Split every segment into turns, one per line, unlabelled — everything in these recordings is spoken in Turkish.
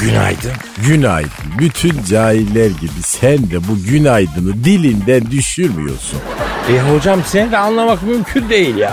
Günaydın.
Günaydın. Bütün cahiller gibi sen de bu günaydını dilinden düşürmüyorsun.
E hocam seni de anlamak mümkün değil ya.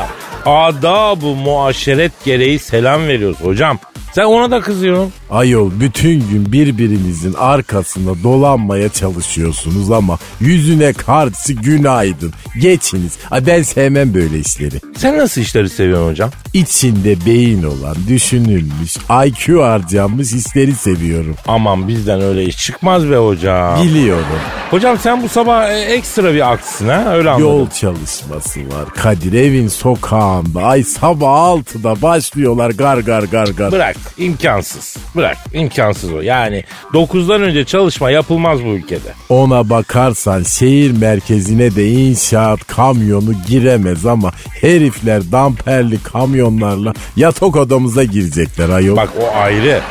Adab-ı muaşeret gereği selam veriyoruz hocam. Sen ona da kızıyorsun.
Ayol bütün gün birbirinizin arkasında dolanmaya çalışıyorsunuz ama yüzüne karşı günaydın. Geçiniz. Ay ben sevmem böyle işleri.
Sen nasıl işleri seviyorsun hocam?
İçinde beyin olan, düşünülmüş, IQ harcanmış hisleri seviyorum.
Aman bizden öyle iş çıkmaz be hocam.
Biliyorum.
Hocam sen bu sabah e, ekstra bir aksın ha öyle anladım.
Yol çalışması var. Kadir evin sokağında. Ay sabah 6'da başlıyorlar gar gar gar gar.
Bırak imkansız. Bırak imkansız o. Yani 9'dan önce çalışma yapılmaz bu ülkede.
Ona bakarsan şehir merkezine de inşaat kamyonu giremez ama herifler damperli kamyonlarla yatak odamıza girecekler ayol.
Bak o ayrı.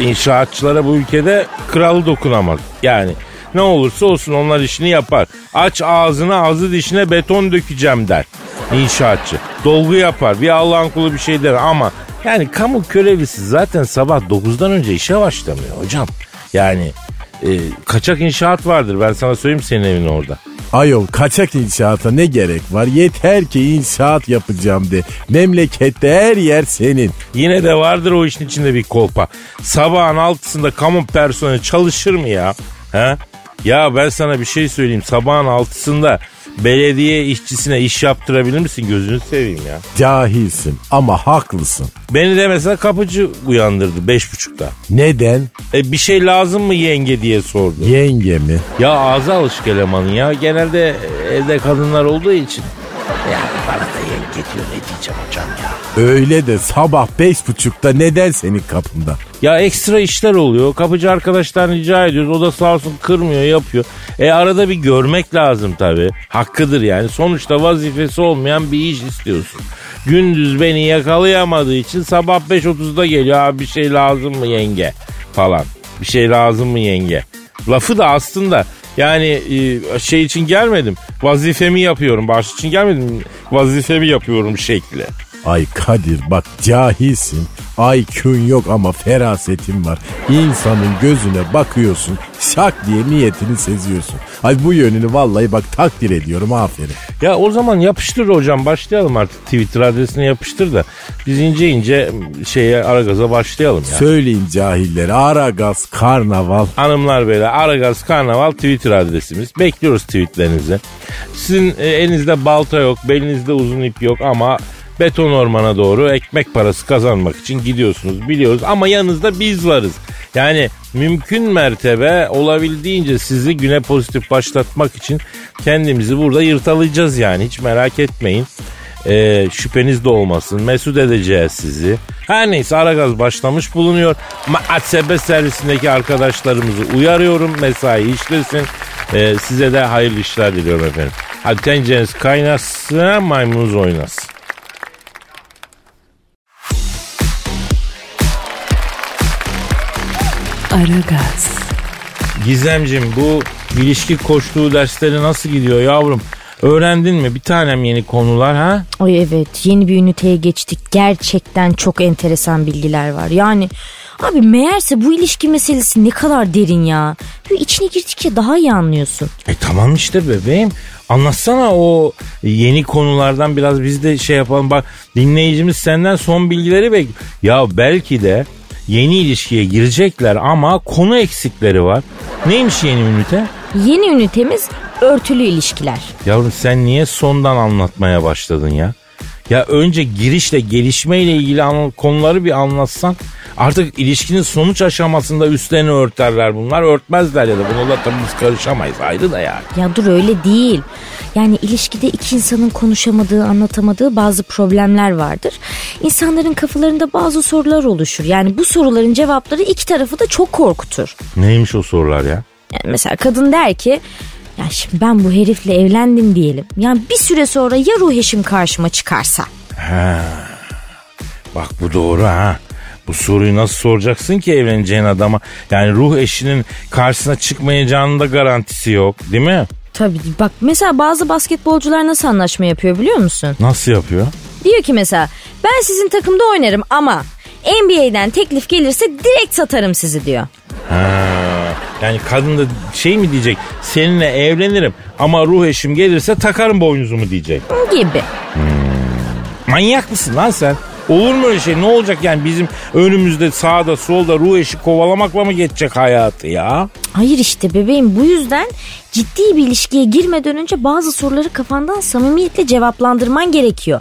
İnşaatçılara bu ülkede kralı dokunamaz. Yani ne olursa olsun onlar işini yapar. Aç ağzını ağzı dişine beton dökeceğim der inşaatçı. Dolgu yapar bir Allah'ın kulu bir şey der ama yani kamu kölevisi zaten sabah 9'dan önce işe başlamıyor hocam. Yani e, kaçak inşaat vardır ben sana söyleyeyim senin evin orada.
Ayol kaçak inşaata ne gerek var? Yeter ki inşaat yapacağım de. Memlekette her yer senin.
Yine de vardır o işin içinde bir kolpa. Sabahın altısında kamu personeli çalışır mı ya? He? Ya ben sana bir şey söyleyeyim. Sabahın altısında belediye işçisine iş yaptırabilir misin? Gözünü seveyim ya.
Cahilsin ama haklısın.
Beni de mesela kapıcı uyandırdı beş buçukta.
Neden?
E bir şey lazım mı yenge diye sordu.
Yenge mi?
Ya ağza alışık elemanın ya. Genelde evde kadınlar olduğu için. Yani bana da yenge diyor ne diyeceğim hocam ya.
Öyle de sabah beş buçukta neden senin kapında?
Ya ekstra işler oluyor. Kapıcı arkadaştan rica ediyoruz. O da sağ olsun kırmıyor, yapıyor. E arada bir görmek lazım tabii. Hakkıdır yani. Sonuçta vazifesi olmayan bir iş istiyorsun. Gündüz beni yakalayamadığı için sabah 5.30'da geliyor. Abi bir şey lazım mı yenge? Falan. Bir şey lazım mı yenge? Lafı da aslında yani e, şey için gelmedim. Vazifemi yapıyorum. Bağış için gelmedim. Vazifemi yapıyorum şekli.
Ay Kadir bak cahilsin. IQ'un yok ama ferasetin var. İnsanın gözüne bakıyorsun. Şak diye niyetini seziyorsun. Ay bu yönünü vallahi bak takdir ediyorum aferin.
Ya o zaman yapıştır hocam başlayalım artık Twitter adresine yapıştır da biz ince ince şeye Aragaz'a başlayalım ya.
Söyleyin cahillere Aragaz Karnaval.
Hanımlar beyler Aragaz Karnaval Twitter adresimiz. Bekliyoruz tweetlerinizi. Sizin e, elinizde balta yok, belinizde uzun ip yok ama beton ormana doğru ekmek parası kazanmak için gidiyorsunuz biliyoruz ama yanınızda biz varız. Yani mümkün mertebe olabildiğince sizi güne pozitif başlatmak için kendimizi burada yırtalayacağız yani hiç merak etmeyin. Ee, şüpheniz de olmasın. Mesut edeceğiz sizi. Her neyse Aragaz başlamış bulunuyor. Ma- ATSB servisindeki arkadaşlarımızı uyarıyorum. Mesai işlesin. Ee, size de hayırlı işler diliyorum efendim. Hadi tencereniz kaynasın, maymunuz oynasın.
Aragaz,
Gizemcim bu ilişki koçluğu dersleri nasıl gidiyor yavrum? Öğrendin mi bir tanem yeni konular ha?
Ay evet yeni bir üniteye geçtik. Gerçekten çok enteresan bilgiler var. Yani abi meğerse bu ilişki meselesi ne kadar derin ya. Böyle içine girdikçe daha iyi anlıyorsun.
E tamam işte bebeğim. Anlatsana o yeni konulardan biraz biz de şey yapalım. Bak dinleyicimiz senden son bilgileri bekliyor. Ya belki de yeni ilişkiye girecekler ama konu eksikleri var. Neymiş yeni ünite?
Yeni ünitemiz örtülü ilişkiler.
Yavrum sen niye sondan anlatmaya başladın ya? Ya önce girişle gelişmeyle ilgili anla- konuları bir anlatsan. Artık ilişkinin sonuç aşamasında üstlerini örterler bunlar. Örtmezler ya da bununla tabii biz karışamayız ayrı da yani.
Ya dur öyle değil. Yani ilişkide iki insanın konuşamadığı, anlatamadığı bazı problemler vardır. İnsanların kafalarında bazı sorular oluşur. Yani bu soruların cevapları iki tarafı da çok korkutur.
Neymiş o sorular ya?
Yani mesela kadın der ki ya şimdi ben bu herifle evlendim diyelim. Yani bir süre sonra ya ruh eşim karşıma çıkarsa?
Bak bu doğru ha. Bu soruyu nasıl soracaksın ki evleneceğin adama? Yani ruh eşinin karşısına çıkmayacağının da garantisi yok değil mi?
Tabii bak mesela bazı basketbolcular nasıl anlaşma yapıyor biliyor musun?
Nasıl yapıyor?
Diyor ki mesela ben sizin takımda oynarım ama NBA'den teklif gelirse direkt satarım sizi diyor.
Ha. Yani kadın da şey mi diyecek? Seninle evlenirim ama ruh eşim gelirse takarım boynuzumu diyecek.
Gibi.
Manyak mısın lan sen? Olur mu öyle şey? Ne olacak yani bizim önümüzde sağda solda ruh eşi kovalamakla mı geçecek hayatı ya?
Hayır işte bebeğim bu yüzden ciddi bir ilişkiye girmeden önce bazı soruları kafandan samimiyetle cevaplandırman gerekiyor.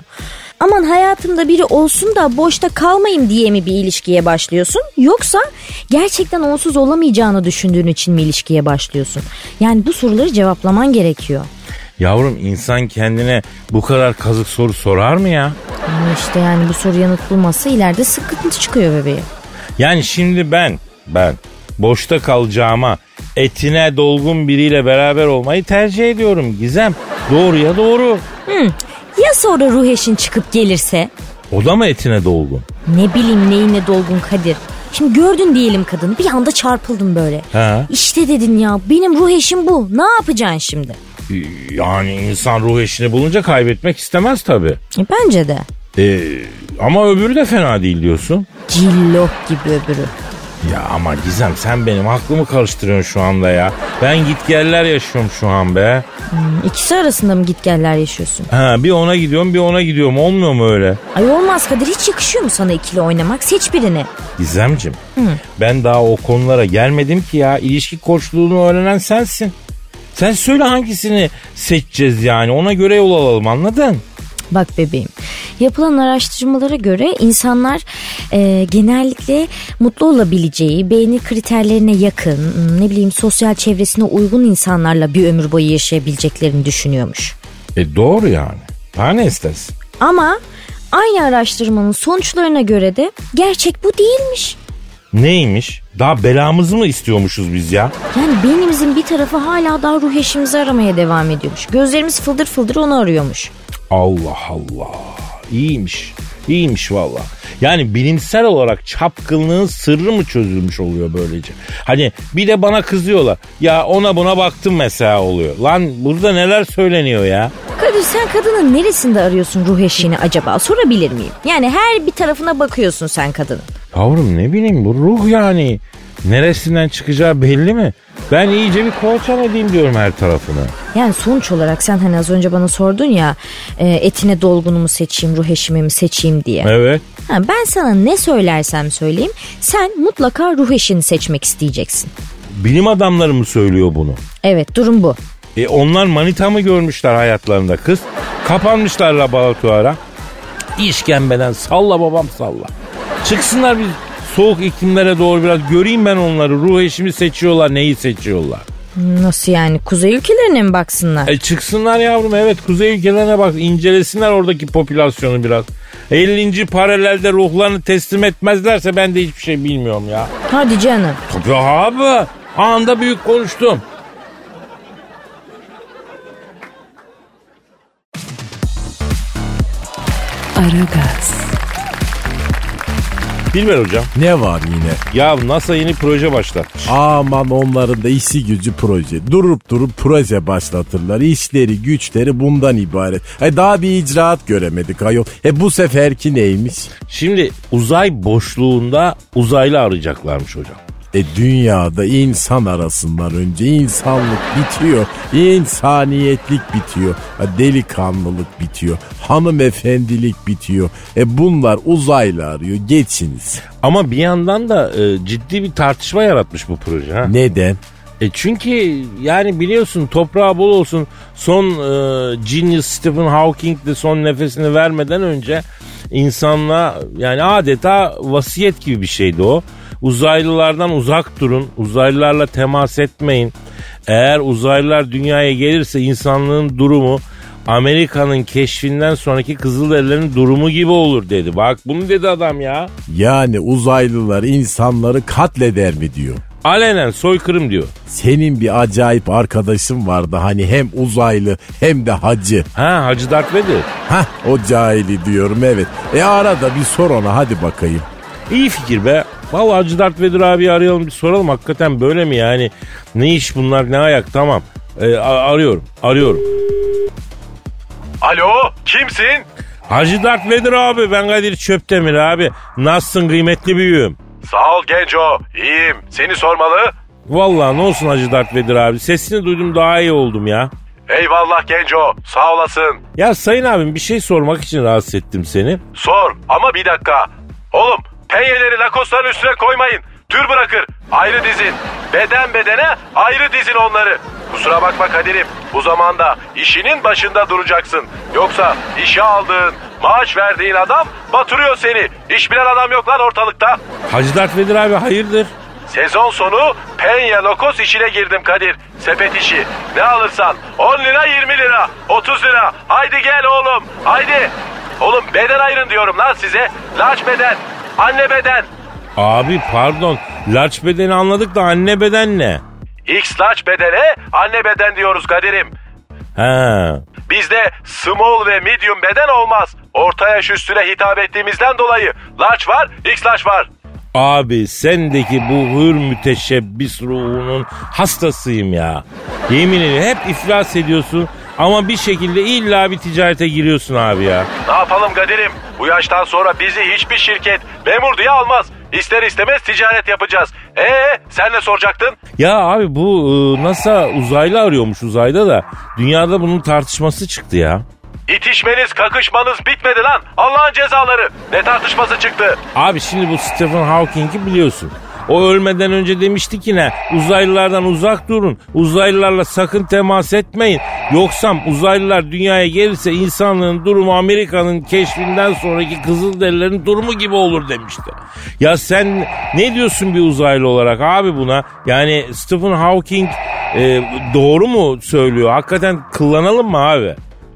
Aman hayatımda biri olsun da boşta kalmayayım diye mi bir ilişkiye başlıyorsun? Yoksa gerçekten onsuz olamayacağını düşündüğün için mi ilişkiye başlıyorsun? Yani bu soruları cevaplaman gerekiyor.
Yavrum insan kendine bu kadar kazık soru sorar mı ya?
Ama işte yani bu soru yanıt bulmazsa ileride sıkıntı çıkıyor bebeğim.
Yani şimdi ben, ben boşta kalacağıma etine dolgun biriyle beraber olmayı tercih ediyorum Gizem. Doğruya doğru.
Ya sonra ruh eşin çıkıp gelirse?
O da mı etine dolgun?
Ne bileyim neyine dolgun Kadir. Şimdi gördün diyelim kadını bir anda çarpıldın böyle.
He.
İşte dedin ya benim ruh eşim bu. Ne yapacaksın şimdi?
Yani insan ruh eşini bulunca kaybetmek istemez tabii.
E, bence de.
Ee, ama öbürü de fena değil diyorsun.
Cillop gibi öbürü.
Ya ama Gizem sen benim aklımı karıştırıyorsun şu anda ya. Ben gitgeller yaşıyorum şu an be.
Hmm, İkisi arasında mı gitgeller yaşıyorsun?
Ha, bir ona gidiyorum bir ona gidiyorum olmuyor mu öyle?
Ay olmaz Kadir hiç yakışıyor mu sana ikili oynamak? Seç birini.
Gizemcim ben daha o konulara gelmedim ki ya. İlişki koçluğunu öğrenen sensin. Sen söyle hangisini seçeceğiz yani ona göre yol alalım anladın?
Bak bebeğim yapılan araştırmalara göre insanlar e, genellikle mutlu olabileceği, beğeni kriterlerine yakın, hmm, ne bileyim sosyal çevresine uygun insanlarla bir ömür boyu yaşayabileceklerini düşünüyormuş.
E doğru yani. Daha ne istersin?
Ama aynı araştırmanın sonuçlarına göre de gerçek bu değilmiş.
Neymiş? Daha belamızı mı istiyormuşuz biz ya?
Yani beynimizin bir tarafı hala daha ruh eşimizi aramaya devam ediyormuş. Gözlerimiz fıldır fıldır onu arıyormuş.
Allah Allah. İyiymiş. İyiymiş valla. Yani bilimsel olarak çapkınlığın sırrı mı çözülmüş oluyor böylece? Hani bir de bana kızıyorlar. Ya ona buna baktım mesela oluyor. Lan burada neler söyleniyor ya?
Kadir sen kadının neresinde arıyorsun ruh eşini acaba sorabilir miyim? Yani her bir tarafına bakıyorsun sen kadının.
Yavrum ne bileyim bu ruh yani. Neresinden çıkacağı belli mi? Ben iyice bir kolçan edeyim diyorum her tarafını.
Yani sonuç olarak sen hani az önce bana sordun ya e, etine dolgunumu seçeyim ruh eşimi mi seçeyim diye.
Evet.
Ha, ben sana ne söylersem söyleyeyim sen mutlaka ruh eşini seçmek isteyeceksin.
Bilim adamları mı söylüyor bunu?
Evet durum bu.
E onlar manita mı görmüşler hayatlarında kız? Kapanmışlar laboratuvara. İşkembeden salla babam salla. Çıksınlar bir soğuk iklimlere doğru biraz göreyim ben onları. Ruh eşimi seçiyorlar neyi seçiyorlar.
Nasıl yani kuzey ülkelerine mi baksınlar?
E çıksınlar yavrum evet kuzey ülkelerine bak incelesinler oradaki popülasyonu biraz. 50. paralelde ruhlarını teslim etmezlerse ben de hiçbir şey bilmiyorum ya.
Hadi canım.
Tabii abi anda büyük konuştum.
Aragaz,
Bilmer hocam.
Ne var yine?
Ya NASA yeni proje başlatmış.
Aman onların da işi gücü proje. Durup durup proje başlatırlar. İşleri güçleri bundan ibaret. Ay daha bir icraat göremedik ayol. E bu seferki neymiş?
Şimdi uzay boşluğunda uzaylı arayacaklarmış hocam.
E dünyada insan arasından önce insanlık bitiyor. insaniyetlik bitiyor. ha, Delikanlılık bitiyor. Hanımefendilik bitiyor. E bunlar uzaylı arıyor. Geçiniz.
Ama bir yandan da e, ciddi bir tartışma yaratmış bu proje. Ha?
Neden?
E çünkü yani biliyorsun toprağı bol olsun son e, genius Stephen Hawking de son nefesini vermeden önce insanla yani adeta vasiyet gibi bir şeydi o. Uzaylılardan uzak durun, uzaylılarla temas etmeyin. Eğer uzaylılar dünyaya gelirse insanlığın durumu Amerika'nın keşfinden sonraki Kızılderililerin durumu gibi olur dedi. Bak bunu dedi adam ya.
Yani uzaylılar insanları katleder mi diyor.
Alenen soykırım diyor.
Senin bir acayip arkadaşın vardı hani hem uzaylı hem de hacı.
Ha Hacı Dert Vedir.
Hah o cahili diyorum evet. E arada bir sor ona hadi bakayım.
İyi fikir be. Vallahi Hacı Dert Vedir abi arayalım bir soralım. Hakikaten böyle mi yani? Ne iş bunlar ne ayak tamam. Ee, a- arıyorum arıyorum.
Alo kimsin?
Hacı Dert Vedir abi ben Kadir Çöptemir abi. Nasılsın kıymetli büyüğüm?
Sağ ol Genco. İyiyim. Seni sormalı.
Vallahi ne olsun Hacı Dert Vedir abi. Sesini duydum daha iyi oldum ya.
Eyvallah Genco. Sağ olasın.
Ya sayın abim bir şey sormak için rahatsız ettim seni.
Sor ama bir dakika. Oğlum penyeleri lakosların üstüne koymayın. Tür bırakır. Ayrı dizin. Beden bedene ayrı dizin onları. Kusura bakma Kadir'im. Bu zamanda işinin başında duracaksın. Yoksa işe aldığın, maaş verdiğin adam batırıyor seni. İş bilen adam yok lan ortalıkta.
Hacı Dert Vedir abi hayırdır?
Sezon sonu Penya Lokos işine girdim Kadir. Sepet işi. Ne alırsan 10 lira 20 lira 30 lira. Haydi gel oğlum haydi. Oğlum beden ayırın diyorum lan size. Laç beden. Anne beden.
Abi pardon larç bedeni anladık da anne beden ne?
X laç bedene anne beden diyoruz Kadir'im.
Ha
Bizde small ve medium beden olmaz. Orta yaş üstüne hitap ettiğimizden dolayı large var, X large var.
Abi sendeki bu hür müteşebbis ruhunun hastasıyım ya. Yemin ederim hep iflas ediyorsun ama bir şekilde illa bir ticarete giriyorsun abi ya.
Ne yapalım Kadir'im? Bu yaştan sonra bizi hiçbir şirket memur diye almaz. İster istemez ticaret yapacağız. Ee sen ne soracaktın?
Ya abi bu e, NASA uzaylı arıyormuş uzayda da dünyada bunun tartışması çıktı ya.
İtişmeniz, kakışmanız bitmedi lan. Allah'ın cezaları. Ne tartışması çıktı?
Abi şimdi bu Stephen Hawking'i biliyorsun. O ölmeden önce demişti ki ne? Uzaylılardan uzak durun. Uzaylılarla sakın temas etmeyin. Yoksa uzaylılar dünyaya gelirse insanlığın durumu Amerika'nın keşfinden sonraki Kızılderililerin durumu gibi olur demişti. Ya sen ne diyorsun bir uzaylı olarak abi buna? Yani Stephen Hawking e, doğru mu söylüyor? Hakikaten kullanalım mı abi?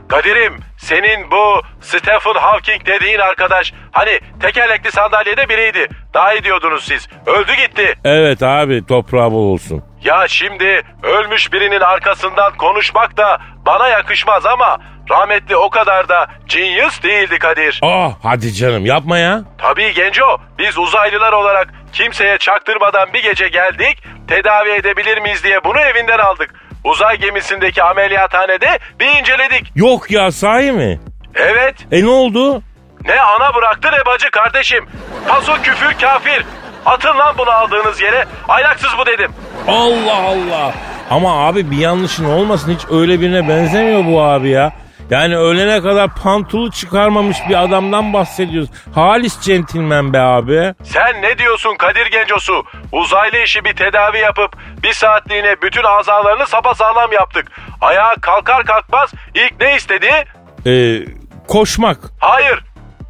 Kadir'im senin bu Stephen Hawking dediğin arkadaş hani tekerlekli sandalyede biriydi. Daha iyi diyordunuz siz. Öldü gitti.
Evet abi toprağı bol olsun.
Ya şimdi ölmüş birinin arkasından konuşmak da bana yakışmaz ama rahmetli o kadar da genius değildi Kadir.
Ah hadi canım yapma ya.
Tabii Genco biz uzaylılar olarak kimseye çaktırmadan bir gece geldik tedavi edebilir miyiz diye bunu evinden aldık. Uzay gemisindeki ameliyathanede bir inceledik.
Yok ya sahi mi?
Evet
E ne oldu?
ne ana bıraktı ne bacı kardeşim. Paso küfür kafir. Atın lan bunu aldığınız yere aylaksız bu dedim.
Allah Allah. Ama abi bir yanlışın olmasın hiç öyle birine benzemiyor bu abi ya. Yani ölene kadar pantolu çıkarmamış bir adamdan bahsediyoruz. Halis centilmen be abi.
Sen ne diyorsun Kadir Gencosu? Uzaylı işi bir tedavi yapıp bir saatliğine bütün azalarını sapasağlam yaptık. Ayağa kalkar kalkmaz ilk ne istedi?
Ee, koşmak.
Hayır.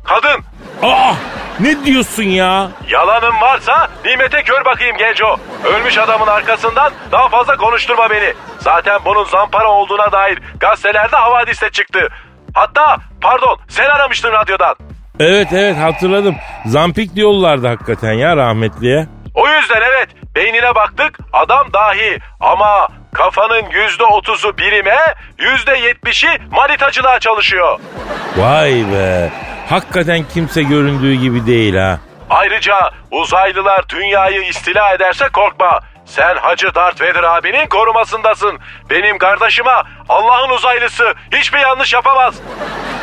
Kadın.
Aa ne diyorsun ya?
Yalanın varsa nimete kör bakayım Genco. Ölmüş adamın arkasından daha fazla konuşturma beni. Zaten bunun zampara olduğuna dair gazetelerde havadiste çıktı. Hatta pardon sen aramıştın radyodan.
Evet evet hatırladım. Zampik diyorlardı hakikaten ya rahmetliye.
O yüzden evet beynine baktık adam dahi ama kafanın yüzde otuzu birime yüzde yetmişi manitacılığa çalışıyor.
Vay be. Hakikaten kimse göründüğü gibi değil ha.
Ayrıca uzaylılar dünyayı istila ederse korkma. Sen Hacı Darth Vader abinin korumasındasın. Benim kardeşime Allah'ın uzaylısı hiçbir yanlış yapamaz.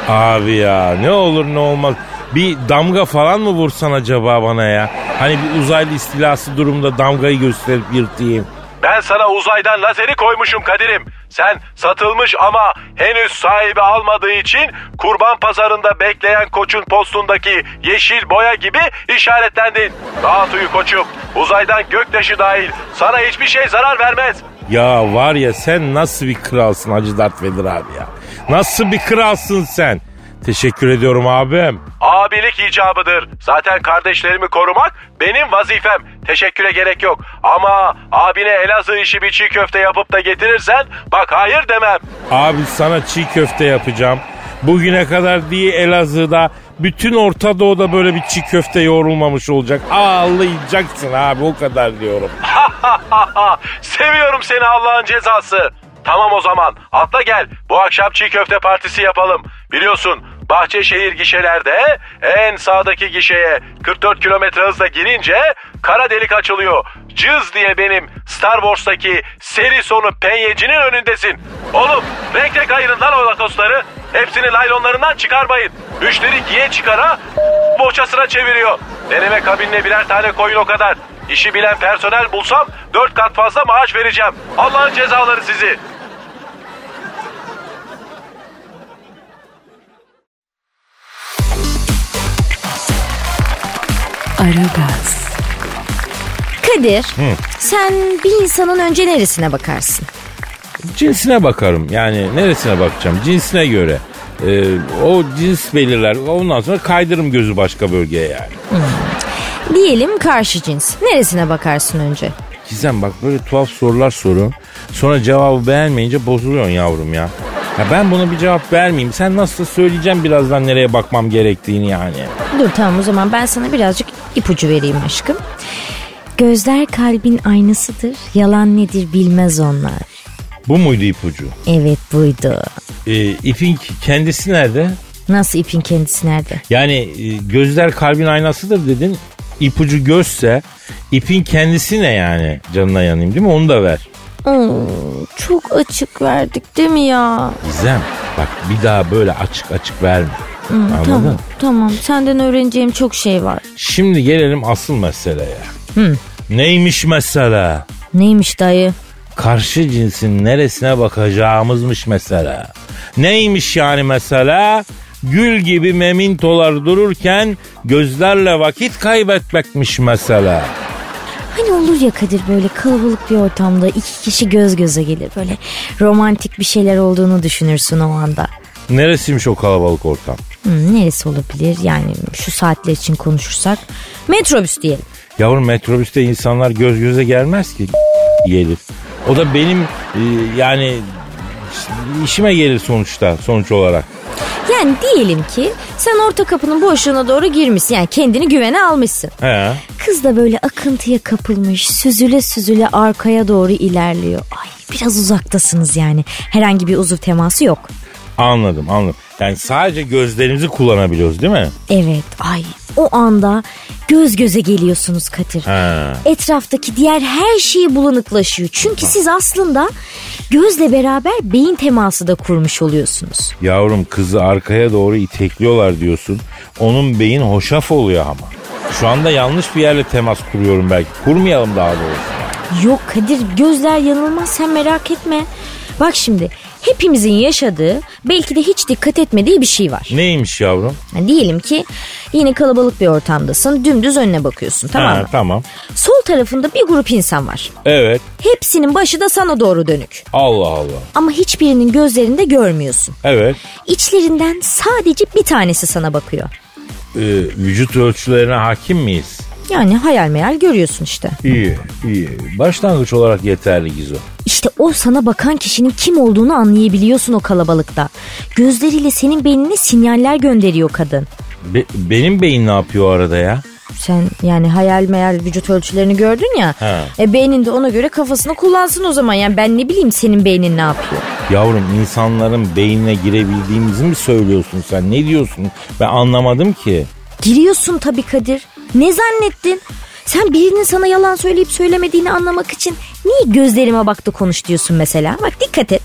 Abi ya ne olur ne olmaz. Bir damga falan mı vursan acaba bana ya? Hani bir uzaylı istilası durumda damgayı gösterip yırtayım.
Ben sana uzaydan lazeri koymuşum Kadir'im. Sen satılmış ama henüz sahibi almadığı için kurban pazarında bekleyen koçun postundaki yeşil boya gibi işaretlendin. Rahat uyu koçum. Uzaydan göktaşı dahil sana hiçbir şey zarar vermez.
Ya var ya sen nasıl bir kralsın Hacı Dert Vedir abi ya. Nasıl bir kralsın sen. Teşekkür ediyorum abim.
Abilik icabıdır. Zaten kardeşlerimi korumak benim vazifem. Teşekküre gerek yok. Ama abine Elazığ işi bir çiğ köfte yapıp da getirirsen bak hayır demem.
Abi sana çiğ köfte yapacağım. Bugüne kadar diye Elazığ'da bütün Orta Doğu'da böyle bir çiğ köfte yoğrulmamış olacak. Ağlayacaksın abi o kadar diyorum.
Seviyorum seni Allah'ın cezası. Tamam o zaman atla gel bu akşam çiğ köfte partisi yapalım. Biliyorsun Bahçeşehir gişelerde en sağdaki gişeye 44 kilometre hızla girince kara delik açılıyor. Cız diye benim Star Wars'taki seri sonu penyecinin önündesin. Oğlum renk renk ayırın lan holakosları. Hepsini laylonlarından çıkarmayın. Müşteri giye çıkara bohçasına çeviriyor. Deneme kabinine birer tane koyun o kadar. İşi bilen personel bulsam dört kat fazla maaş vereceğim. Allah'ın cezaları sizi.
Aragaz,
Kadir sen bir insanın önce neresine bakarsın?
Cinsine bakarım yani neresine bakacağım cinsine göre. Ee, o cins belirler ondan sonra kaydırım gözü başka bölgeye yani.
Diyelim karşı cins. Neresine bakarsın önce?
Gizem bak böyle tuhaf sorular soruyorsun. Sonra cevabı beğenmeyince bozuluyorsun yavrum ya. Ya ben buna bir cevap vermeyeyim. Sen nasıl söyleyeceğim birazdan nereye bakmam gerektiğini yani.
Dur tamam o zaman ben sana birazcık ipucu vereyim aşkım. Gözler kalbin aynasıdır. Yalan nedir bilmez onlar.
Bu muydu ipucu?
Evet buydu.
Ee, ipin kendisi nerede?
Nasıl ipin kendisi nerede?
Yani e, gözler kalbin aynasıdır dedin. İpucu gözse ipin kendisi ne yani? Canına yanayım değil mi? Onu da ver.
Oo, çok açık verdik değil mi ya?
Gizem bak bir daha böyle açık açık verme. Anladın
Tamam
mı?
tamam senden öğreneceğim çok şey var.
Şimdi gelelim asıl meseleye. Neymiş mesele?
Neymiş dayı?
karşı cinsin neresine bakacağımızmış mesela. Neymiş yani mesela? Gül gibi memintolar dururken gözlerle vakit kaybetmekmiş mesela.
Hani olur ya Kadir böyle kalabalık bir ortamda iki kişi göz göze gelir böyle romantik bir şeyler olduğunu düşünürsün o anda.
Neresiymiş o kalabalık ortam?
Hmm, neresi olabilir yani şu saatler için konuşursak metrobüs diyelim.
Yavrum metrobüste insanlar göz göze gelmez ki gelir. O da benim e, yani işime gelir sonuçta sonuç olarak.
Yani diyelim ki sen orta kapının boşluğuna doğru girmişsin yani kendini güvene almışsın.
He.
Kız da böyle akıntıya kapılmış süzüle süzüle arkaya doğru ilerliyor. Ay biraz uzaktasınız yani herhangi bir uzuv teması yok.
Anladım anladım. Yani sadece gözlerimizi kullanabiliyoruz değil mi?
Evet ay o anda göz göze geliyorsunuz Kadir.
He.
Etraftaki diğer her şeyi bulanıklaşıyor. Çünkü siz aslında gözle beraber beyin teması da kurmuş oluyorsunuz.
Yavrum kızı arkaya doğru itekliyorlar diyorsun. Onun beyin hoşaf oluyor ama. Şu anda yanlış bir yerle temas kuruyorum belki. Kurmayalım daha doğrusu.
Yok Kadir gözler yanılmaz sen merak etme. Bak şimdi hepimizin yaşadığı belki de hiç dikkat etmediği bir şey var.
Neymiş yavrum?
Yani diyelim ki yine kalabalık bir ortamdasın dümdüz önüne bakıyorsun tamam
Ha,
mı?
tamam.
Sol tarafında bir grup insan var.
Evet.
Hepsinin başı da sana doğru dönük.
Allah Allah.
Ama hiçbirinin gözlerinde görmüyorsun.
Evet.
İçlerinden sadece bir tanesi sana bakıyor.
Ee, vücut ölçülerine hakim miyiz?
Yani hayal meyal görüyorsun işte.
İyi, iyi. Başlangıç olarak yeterli Gizo.
İşte o sana bakan kişinin kim olduğunu anlayabiliyorsun o kalabalıkta. Gözleriyle senin beynine sinyaller gönderiyor kadın.
Be- benim beyin ne yapıyor o arada ya?
Sen yani hayal meyal vücut ölçülerini gördün ya.
He.
E beynin de ona göre kafasını kullansın o zaman. Yani ben ne bileyim senin beynin ne yapıyor.
Yavrum insanların beynine girebildiğimizi mi söylüyorsun sen? Ne diyorsun? Ben anlamadım ki.
Giriyorsun tabii Kadir. Ne zannettin? Sen birinin sana yalan söyleyip söylemediğini anlamak için niye gözlerime baktı konuş diyorsun mesela? Bak dikkat et.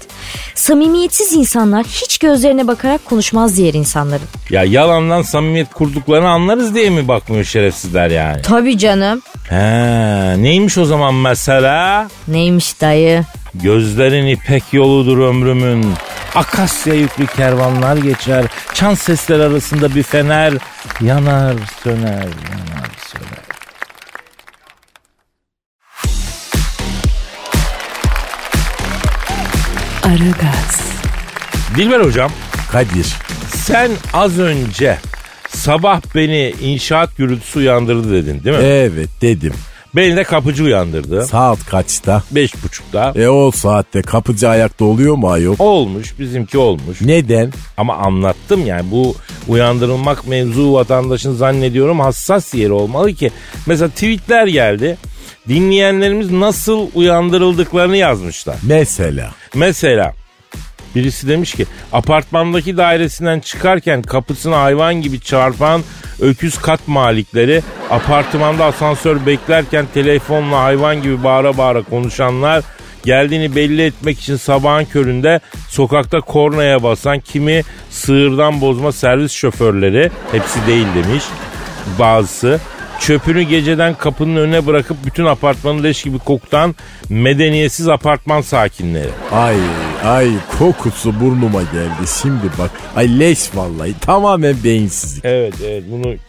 Samimiyetsiz insanlar hiç gözlerine bakarak konuşmaz diğer insanların.
Ya yalandan samimiyet kurduklarını anlarız diye mi bakmıyor şerefsizler yani?
Tabii canım.
He, neymiş o zaman mesela?
Neymiş dayı?
Gözlerin ipek yoludur ömrümün. Akasya yüklü kervanlar geçer. Çan sesler arasında bir fener yanar söner yanar söner.
Aragaz,
Dilber hocam
Kadir.
sen az önce sabah beni inşaat gürültüsü uyandırdı dedin değil mi?
Evet dedim.
beni de kapıcı uyandırdı.
Saat kaçta?
Beş buçukta.
E o saatte kapıcı ayakta oluyor mu ayol?
Olmuş bizimki olmuş.
Neden?
Ama anlattım yani bu uyandırılmak mevzu vatandaşın zannediyorum hassas yeri olmalı ki. Mesela tweetler geldi. Dinleyenlerimiz nasıl uyandırıldıklarını yazmışlar.
Mesela.
Mesela birisi demiş ki apartmandaki dairesinden çıkarken kapısına hayvan gibi çarpan öküz kat malikleri, apartmanda asansör beklerken telefonla hayvan gibi bağıra bağıra konuşanlar, geldiğini belli etmek için sabahın köründe sokakta kornaya basan kimi sığırdan bozma servis şoförleri, hepsi değil demiş bazısı. Çöpünü geceden kapının önüne bırakıp bütün apartmanı leş gibi kokutan medeniyetsiz apartman sakinleri.
Ay ay kokusu burnuma geldi şimdi bak. Ay leş vallahi tamamen beyinsizlik.
Evet evet bunu e,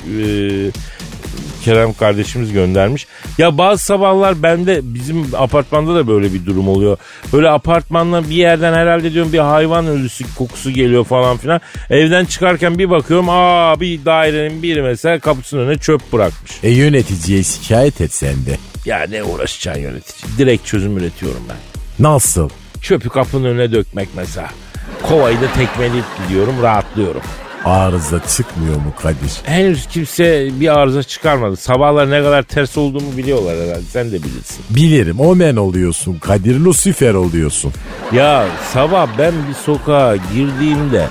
Kerem kardeşimiz göndermiş. Ya bazı sabahlar bende bizim apartmanda da böyle bir durum oluyor. Böyle apartmandan bir yerden herhalde diyorum bir hayvan ölüsü kokusu geliyor falan filan. Evden çıkarken bir bakıyorum aa bir dairenin biri mesela kapısının önüne çöp bırakmış.
E yöneticiye şikayet et sen de.
Ya ne uğraşacaksın yönetici? Direkt çözüm üretiyorum ben.
Nasıl?
Çöpü kapının önüne dökmek mesela. Kovayı da tekmeleyip gidiyorum rahatlıyorum.
Arıza çıkmıyor mu Kadir?
Henüz kimse bir arıza çıkarmadı. Sabahlar ne kadar ters olduğumu biliyorlar herhalde. Sen de bilirsin.
Bilirim omen oluyorsun Kadir Lucifer oluyorsun.
Ya sabah ben bir sokağa girdiğimde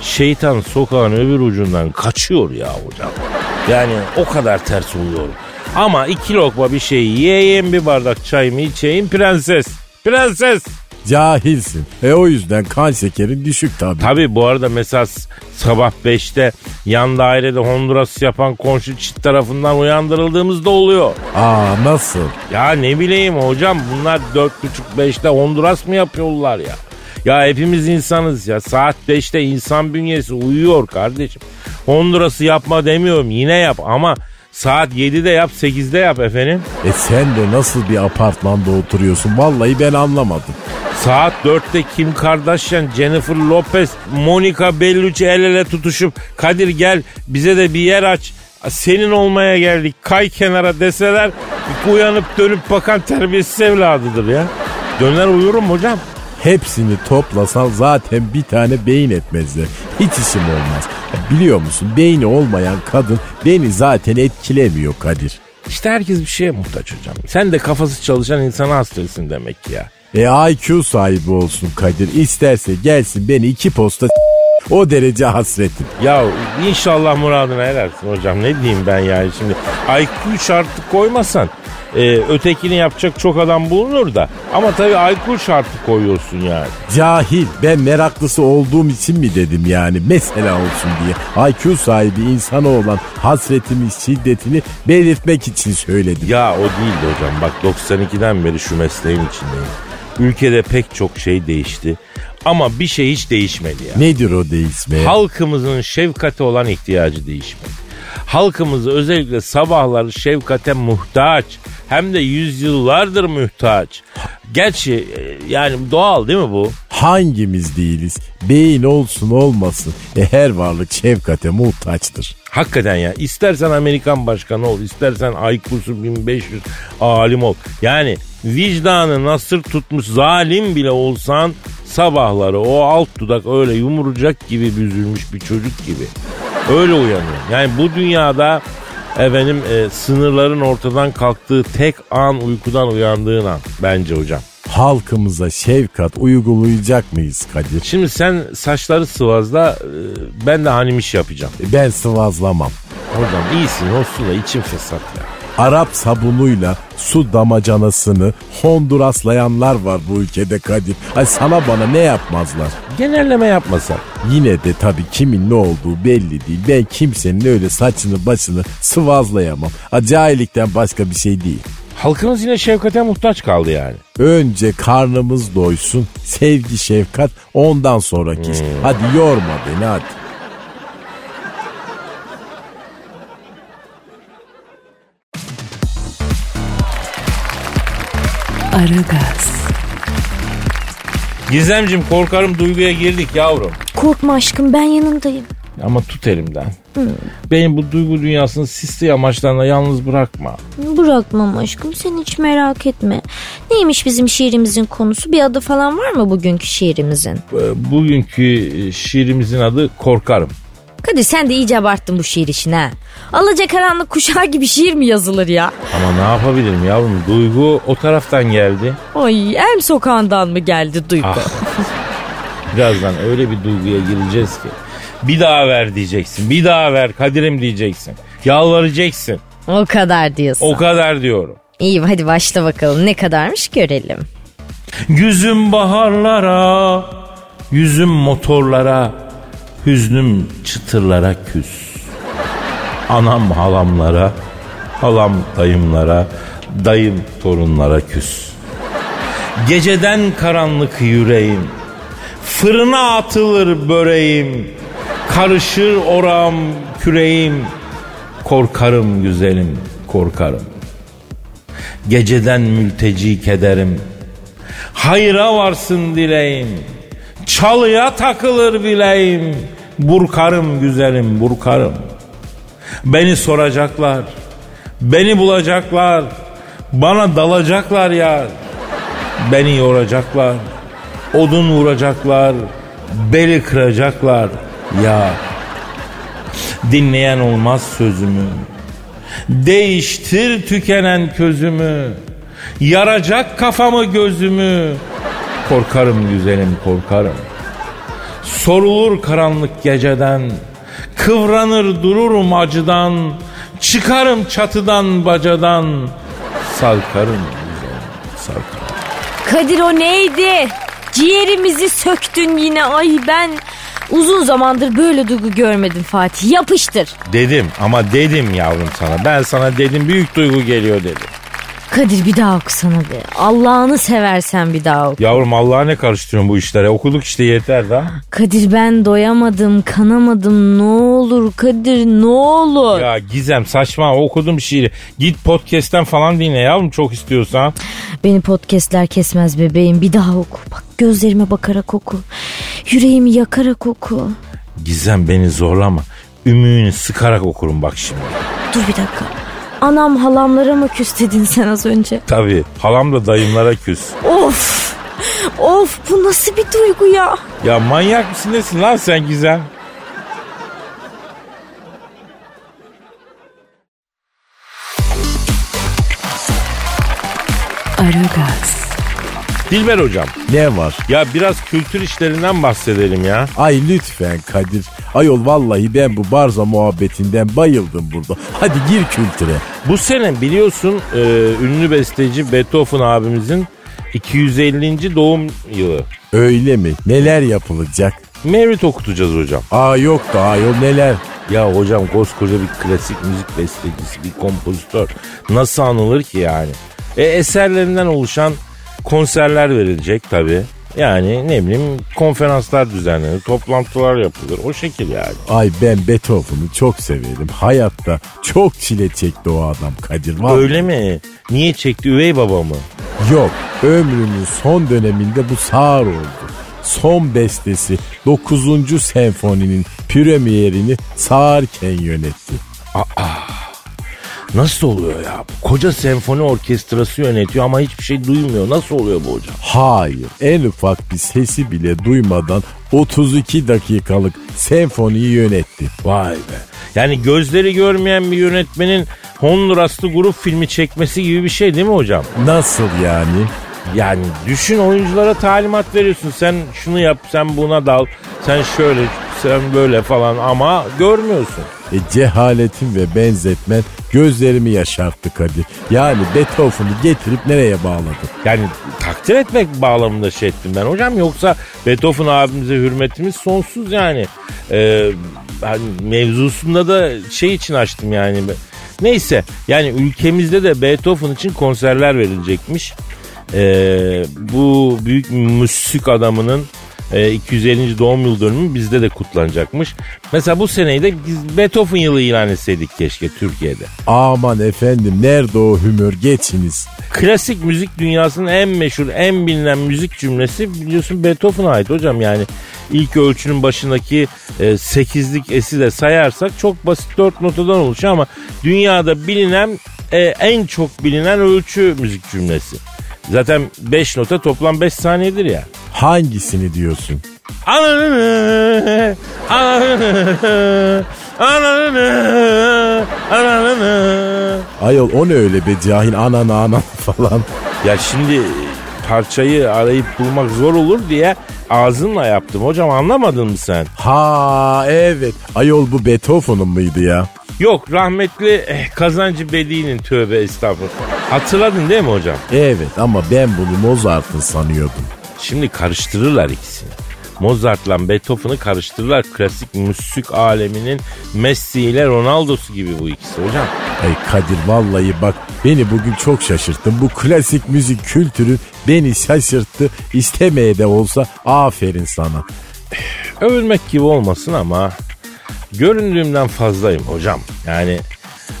şeytan sokağın öbür ucundan kaçıyor ya hocam. Yani o kadar ters oluyorum. Ama iki lokma bir şey yiyeyim bir bardak çayımı içeyim prenses. Prenses.
Cahilsin. E o yüzden kan şekerin düşük tabii.
Tabi bu arada mesela s- sabah 5'te yan dairede Honduras yapan komşu çit tarafından uyandırıldığımız da oluyor.
Aa nasıl?
Ya ne bileyim hocam bunlar 4.30-5'te Honduras mı yapıyorlar ya? Ya hepimiz insanız ya. Saat 5'te insan bünyesi uyuyor kardeşim. Honduras'ı yapma demiyorum yine yap ama saat 7'de yap 8'de yap efendim.
E sen de nasıl bir apartmanda oturuyorsun? Vallahi ben anlamadım.
Saat 4'te Kim Kardashian, Jennifer Lopez, Monica Bellucci el ele tutuşup Kadir gel bize de bir yer aç. Senin olmaya geldik kay kenara deseler uyanıp dönüp bakan terbiyesiz evladıdır ya. Döner uyurum hocam.
Hepsini toplasan zaten bir tane beyin etmezler. Hiç işim olmaz. Ya Biliyor musun beyni olmayan kadın beni zaten etkilemiyor Kadir.
İşte herkes bir şeye muhtaç hocam. Sen de kafası çalışan insana hastasın demek ki ya.
E IQ sahibi olsun Kadir. İsterse gelsin beni iki posta s- o derece hasretim.
Ya inşallah muradına erersin hocam. Ne diyeyim ben yani şimdi. IQ şartı koymasan e, ötekini yapacak çok adam bulunur da. Ama tabii IQ şartı koyuyorsun yani.
Cahil ben meraklısı olduğum için mi dedim yani mesela olsun diye. IQ sahibi insana olan hasretimi şiddetini belirtmek için söyledim.
Ya o değildi hocam. Bak 92'den beri şu mesleğin içindeyim. Ülkede pek çok şey değişti. Ama bir şey hiç değişmedi ya.
Nedir o değişme?
Halkımızın şefkate olan ihtiyacı değişmedi. Halkımız özellikle sabahları şefkate muhtaç. Hem de yüzyıllardır muhtaç. Gerçi e, yani doğal değil mi bu?
Hangimiz değiliz? Beyin olsun olmasın. E her varlık şefkate muhtaçtır.
Hakikaten ya istersen Amerikan başkanı ol istersen IQ'su 1500 alim ol. Yani vicdanı nasır tutmuş zalim bile olsan sabahları o alt dudak öyle yumurcak gibi büzülmüş bir çocuk gibi. Öyle uyanıyor. Yani bu dünyada efendim e, sınırların ortadan kalktığı tek an uykudan uyandığın an bence hocam.
Halkımıza şefkat uygulayacak mıyız Kadir?
Şimdi sen saçları sıvazla e, ben de hanimiş yapacağım.
E, Ben sıvazlamam.
Hocam iyisin olsun da içim fesat ya.
Arap sabunuyla su damacanasını Honduraslayanlar var bu ülkede Kadir. Ay sana bana ne yapmazlar?
Genelleme yapmasak.
Yine de tabii kimin ne olduğu belli değil. Ben kimsenin öyle saçını başını sıvazlayamam. Acayilikten başka bir şey değil.
Halkımız yine şefkate muhtaç kaldı yani.
Önce karnımız doysun. Sevgi, şefkat ondan sonraki
Hmm.
iş. Hadi yorma beni hadi.
Aragaz,
Gizemcim korkarım duyguya girdik yavrum.
Korkma aşkım ben yanındayım.
Ama tut elimden. Beni bu duygu dünyasının sisli amaçlarına yalnız bırakma.
Bırakmam aşkım sen hiç merak etme. Neymiş bizim şiirimizin konusu? Bir adı falan var mı bugünkü şiirimizin?
E, Bugünkü e, şiirimizin adı Korkarım.
Kadir sen de iyice abarttın bu şiir işini ha. Alacakaranlık kuşağı gibi şiir mi yazılır ya?
Ama ne yapabilirim yavrum? Duygu o taraftan geldi.
Ay em sokağından mı geldi duygu?
Ah. Birazdan öyle bir duyguya gireceğiz ki. Bir daha ver diyeceksin. Bir daha ver Kadir'im diyeceksin. Yalvaracaksın.
O kadar diyorsun.
O kadar diyorum.
İyi hadi başla bakalım ne kadarmış görelim.
Yüzüm baharlara, yüzüm motorlara, hüznüm çıtırlara küs. Anam halamlara, halam dayımlara, dayım torunlara küs. Geceden karanlık yüreğim, fırına atılır böreğim, karışır oram küreğim, korkarım güzelim, korkarım. Geceden mülteci kederim, Hayra varsın dileğim. Çalıya takılır bileğim. Burkarım güzelim burkarım. Beni soracaklar. Beni bulacaklar. Bana dalacaklar ya. Beni yoracaklar. Odun vuracaklar. Beli kıracaklar ya. Dinleyen olmaz sözümü. Değiştir tükenen közümü. Yaracak kafamı gözümü. Korkarım güzelim korkarım. Sorulur karanlık geceden. Kıvranır dururum acıdan. Çıkarım çatıdan bacadan. Sarkarım güzelim sarkarım.
Kadir o neydi? Ciğerimizi söktün yine ay ben uzun zamandır böyle duygu görmedim Fatih yapıştır.
Dedim ama dedim yavrum sana. Ben sana dedim büyük duygu geliyor dedim.
Kadir bir daha okusana be Allah'ını seversen bir daha oku.
Yavrum Allah'a ne karıştırıyorsun bu işlere? Okuduk işte yeter daha.
Kadir ben doyamadım kanamadım ne olur Kadir ne olur.
Ya Gizem saçma okudum şiiri. Git podcast'ten falan dinle yavrum çok istiyorsan.
Beni podcastler kesmez bebeğim bir daha oku bak gözlerime bakarak oku. Yüreğimi yakarak oku.
Gizem beni zorlama. Ümüğünü sıkarak okurum bak şimdi.
Dur bir dakika. Anam halamlara mı küs dedin sen az önce?
Tabii halam da dayımlara küs.
Of! Of bu nasıl bir duygu ya?
Ya manyak mısın nesin lan sen Gizem?
Aragaz,
Dilber hocam
Ne var?
ya biraz kültür işlerinden bahsedelim ya.
Ay lütfen Kadir. Ayol vallahi ben bu barza muhabbetinden bayıldım burada. Hadi gir kültüre.
Bu sene biliyorsun e, ünlü besteci Beethoven abimizin 250. doğum yılı.
Öyle mi? Neler yapılacak?
Merit okutacağız hocam.
Aa yok da ayol neler?
Ya hocam koskoca bir klasik müzik bestecisi, bir kompozitör nasıl anılır ki yani? E, eserlerinden oluşan konserler verilecek tabii. Yani ne bileyim konferanslar düzenlenir, toplantılar yapılır. O şekil yani.
Ay ben Beethoven'ı çok severim. Hayatta çok çile çekti o adam Kadir. Vallahi.
Öyle mi? Niye çekti üvey baba mı?
Yok ömrünün son döneminde bu sağır oldu. Son bestesi 9. senfoninin premierini sağırken yönetti.
Nasıl oluyor ya? Bu Koca senfoni orkestrası yönetiyor ama hiçbir şey duymuyor. Nasıl oluyor bu hocam?
Hayır en ufak bir sesi bile duymadan 32 dakikalık senfoniyi yönetti.
Vay be. Yani gözleri görmeyen bir yönetmenin Honduraslı grup filmi çekmesi gibi bir şey değil mi hocam?
Nasıl yani?
Yani düşün oyunculara talimat veriyorsun. Sen şunu yap, sen buna dal, sen şöyle, sen böyle falan ama görmüyorsun.
E, cehaletin ve benzetmen gözlerimi yaşarttı Kadir. Yani Beethoven'ı getirip nereye bağladın?
Yani takdir etmek bağlamında şey ettim ben hocam. Yoksa Beethoven abimize hürmetimiz sonsuz yani. Ee, hani mevzusunda da şey için açtım yani. Neyse yani ülkemizde de Beethoven için konserler verilecekmiş. Ee, bu büyük müzik adamının e, 250. doğum yıl dönümü bizde de kutlanacakmış. Mesela bu seneyi de biz Beethoven yılı ilan etseydik keşke Türkiye'de.
Aman efendim nerede o hümür geçiniz.
Klasik müzik dünyasının en meşhur, en bilinen müzik cümlesi biliyorsun Beethoven'a ait hocam. Yani ilk ölçünün başındaki e, sekizlik esi de sayarsak çok basit dört notadan oluşuyor ama dünyada bilinen e, en çok bilinen ölçü müzik cümlesi. Zaten 5 nota toplam 5 saniyedir ya.
Hangisini diyorsun?
Ananı, ananı, ananı, ananı.
Ayol o ne öyle be cahil anan anan falan.
Ya şimdi parçayı arayıp bulmak zor olur diye ağzımla yaptım. Hocam anlamadın mı sen?
Ha evet. Ayol bu Beethoven'ın mıydı ya?
Yok rahmetli eh, Kazancı Bedi'nin tövbe estağfurullah. Hatırladın değil mi hocam?
Evet ama ben bunu Mozart'ın sanıyordum.
Şimdi karıştırırlar ikisini. Mozart'la Beethoven'ı karıştırırlar. Klasik müzik aleminin Messi ile Ronaldo'su gibi bu ikisi hocam.
Ay Kadir vallahi bak beni bugün çok şaşırttın. Bu klasik müzik kültürü beni şaşırttı. İstemeye de olsa aferin sana.
Övülmek gibi olmasın ama göründüğümden fazlayım hocam. Yani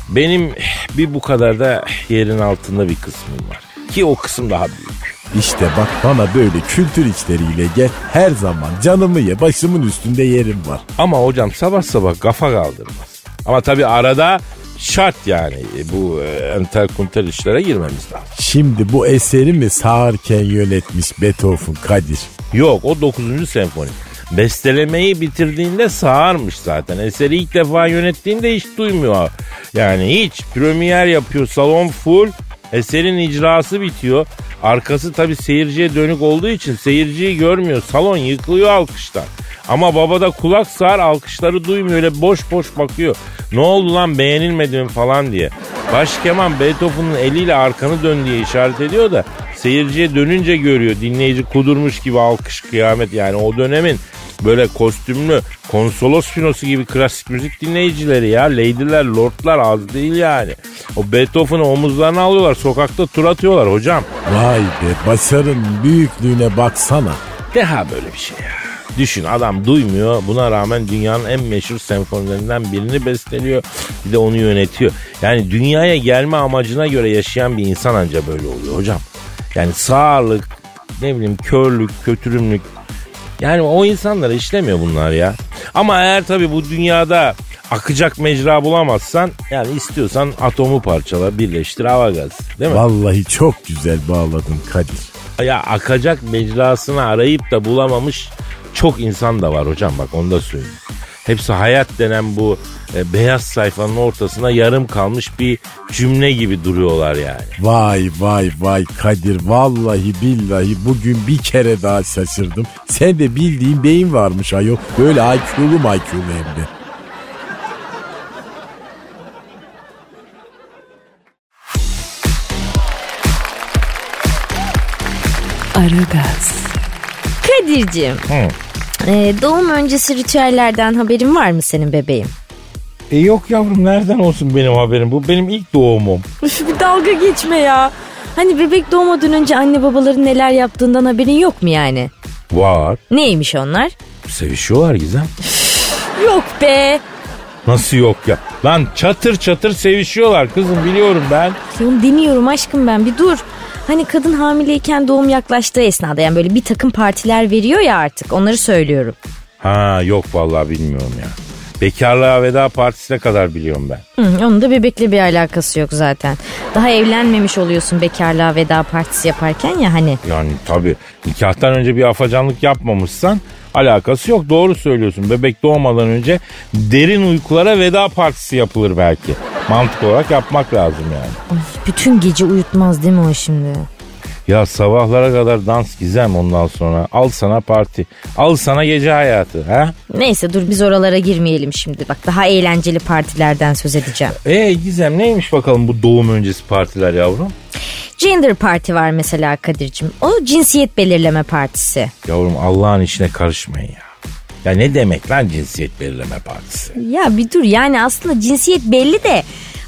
benim bir bu kadar da yerin altında bir kısmım var. Ki o kısım daha büyük.
İşte bak bana böyle kültür içleriyle gel her zaman canımı ye başımın üstünde yerim var.
Ama hocam sabah sabah kafa kaldırmaz. Ama tabii arada şart yani bu e, entel kuntel işlere girmemiz lazım.
Şimdi bu eseri mi sağarken yönetmiş Beethoven Kadir?
Yok o 9. senfoni. Bestelemeyi bitirdiğinde sağarmış zaten. Eseri ilk defa yönettiğinde hiç duymuyor. Yani hiç. Premier yapıyor. Salon full. Eserin icrası bitiyor. Arkası tabii seyirciye dönük olduğu için seyirciyi görmüyor. Salon yıkılıyor alkıştan. Ama baba da kulak sağır alkışları duymuyor. Öyle boş boş bakıyor. Ne oldu lan beğenilmedi mi falan diye. Başkeman Beethoven'ın eliyle arkanı dön diye işaret ediyor da seyirciye dönünce görüyor. Dinleyici kudurmuş gibi alkış kıyamet yani o dönemin böyle kostümlü konsolos finosu gibi klasik müzik dinleyicileri ya. Lady'ler, lordlar az değil yani. O Beethoven'ı omuzlarına alıyorlar. Sokakta tur atıyorlar hocam.
Vay be başarın büyüklüğüne baksana.
Deha böyle bir şey ya. Düşün adam duymuyor. Buna rağmen dünyanın en meşhur senfonilerinden birini besteliyor. Bir de onu yönetiyor. Yani dünyaya gelme amacına göre yaşayan bir insan anca böyle oluyor hocam. Yani sağırlık, ne bileyim körlük, kötürümlük. Yani o insanlara işlemiyor bunlar ya. Ama eğer tabii bu dünyada akacak mecra bulamazsan yani istiyorsan atomu parçala birleştir hava gaz değil mi?
Vallahi çok güzel bağladın Kadir.
Ya akacak mecrasını arayıp da bulamamış çok insan da var hocam bak onu da söyleyeyim. Hepsi hayat denen bu e, beyaz sayfanın ortasına yarım kalmış bir cümle gibi duruyorlar yani.
Vay vay vay Kadir vallahi billahi bugün bir kere daha şaşırdım. Sen de bildiğin beyin varmış ayol. Böyle IQ'lu IQ'lu hem de.
Aragaz,
Kadir'cim.
Hı.
Ee, doğum öncesi ritüellerden haberin var mı senin bebeğim?
E yok yavrum nereden olsun benim haberim bu benim ilk doğumum.
Üf bir dalga geçme ya. Hani bebek doğmadan önce anne babaların neler yaptığından haberin yok mu yani?
Var.
Neymiş onlar?
Sevişiyorlar Gizem.
Yok be.
Nasıl yok ya? Lan çatır çatır sevişiyorlar kızım biliyorum ben.
Oğlum demiyorum aşkım ben bir dur. Hani kadın hamileyken doğum yaklaştığı esnada yani böyle bir takım partiler veriyor ya artık onları söylüyorum.
Ha yok vallahi bilmiyorum ya. Bekarlığa veda partisine kadar biliyorum ben.
Hı, onun da bebekle bir alakası yok zaten. Daha evlenmemiş oluyorsun bekarlığa veda partisi yaparken ya hani.
Yani tabii nikahtan önce bir afacanlık yapmamışsan alakası yok. Doğru söylüyorsun. Bebek doğmadan önce derin uykulara veda partisi yapılır belki. Mantık olarak yapmak lazım yani.
Ay, bütün gece uyutmaz değil mi o şimdi?
Ya sabahlara kadar dans gizem ondan sonra. Al sana parti. Al sana gece hayatı. Ha?
Neyse dur biz oralara girmeyelim şimdi. Bak daha eğlenceli partilerden söz edeceğim.
E Gizem neymiş bakalım bu doğum öncesi partiler yavrum?
Gender parti var mesela Kadir'cim. O cinsiyet belirleme partisi.
Yavrum Allah'ın işine karışmayın ya. Ya ne demek lan cinsiyet belirleme partisi?
Ya bir dur yani aslında cinsiyet belli de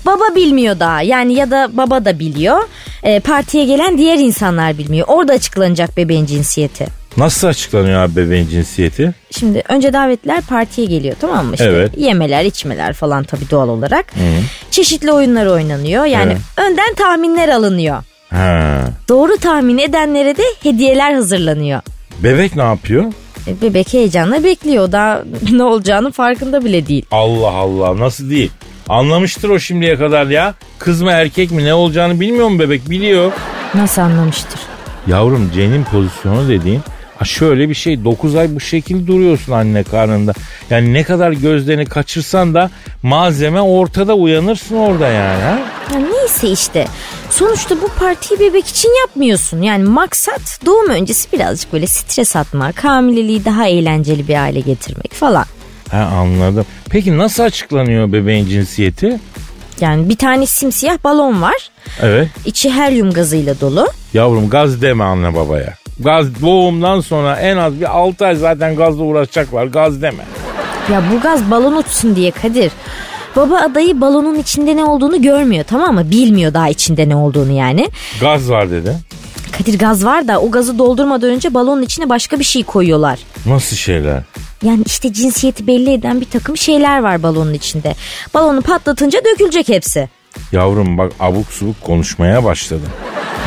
baba bilmiyor daha. Yani ya da baba da biliyor. E, partiye gelen diğer insanlar bilmiyor. Orada açıklanacak bebeğin cinsiyeti.
Nasıl açıklanıyor abi bebeğin cinsiyeti?
Şimdi önce davetliler partiye geliyor tamam mı? İşte
Evet.
Yemeler, içmeler falan tabii doğal olarak. Çeşitli oyunlar oynanıyor. Yani önden tahminler alınıyor.
Ha.
Doğru tahmin edenlere de hediyeler hazırlanıyor.
Bebek ne yapıyor?
E, Bebek heyecanla bekliyor. Daha ne olacağının farkında bile değil.
Allah Allah nasıl değil? Anlamıştır o şimdiye kadar ya. Kız mı erkek mi ne olacağını bilmiyor mu bebek? Biliyor.
Nasıl anlamıştır?
Yavrum cenin pozisyonu dediğin ha şöyle bir şey 9 ay bu şekil duruyorsun anne karnında. Yani ne kadar gözlerini kaçırsan da malzeme ortada uyanırsın orada yani. Ha?
Ya neyse işte. Sonuçta bu partiyi bebek için yapmıyorsun. Yani maksat doğum öncesi birazcık böyle stres atmak, hamileliği daha eğlenceli bir hale getirmek falan.
Ha anladım. Peki nasıl açıklanıyor bebeğin cinsiyeti?
Yani bir tane simsiyah balon var.
Evet.
İçi helyum gazıyla dolu.
Yavrum gaz deme anne babaya. Gaz doğumdan sonra en az bir 6 ay zaten gazla uğraşacaklar. Gaz deme.
Ya bu gaz balon uçsun diye Kadir. Baba adayı balonun içinde ne olduğunu görmüyor tamam mı? Bilmiyor daha içinde ne olduğunu yani.
Gaz var dedi.
Kadir gaz var da o gazı doldurmadan önce balonun içine başka bir şey koyuyorlar.
Nasıl şeyler?
Yani işte cinsiyeti belli eden bir takım şeyler var balonun içinde. Balonu patlatınca dökülecek hepsi.
Yavrum bak abuk subuk konuşmaya başladım.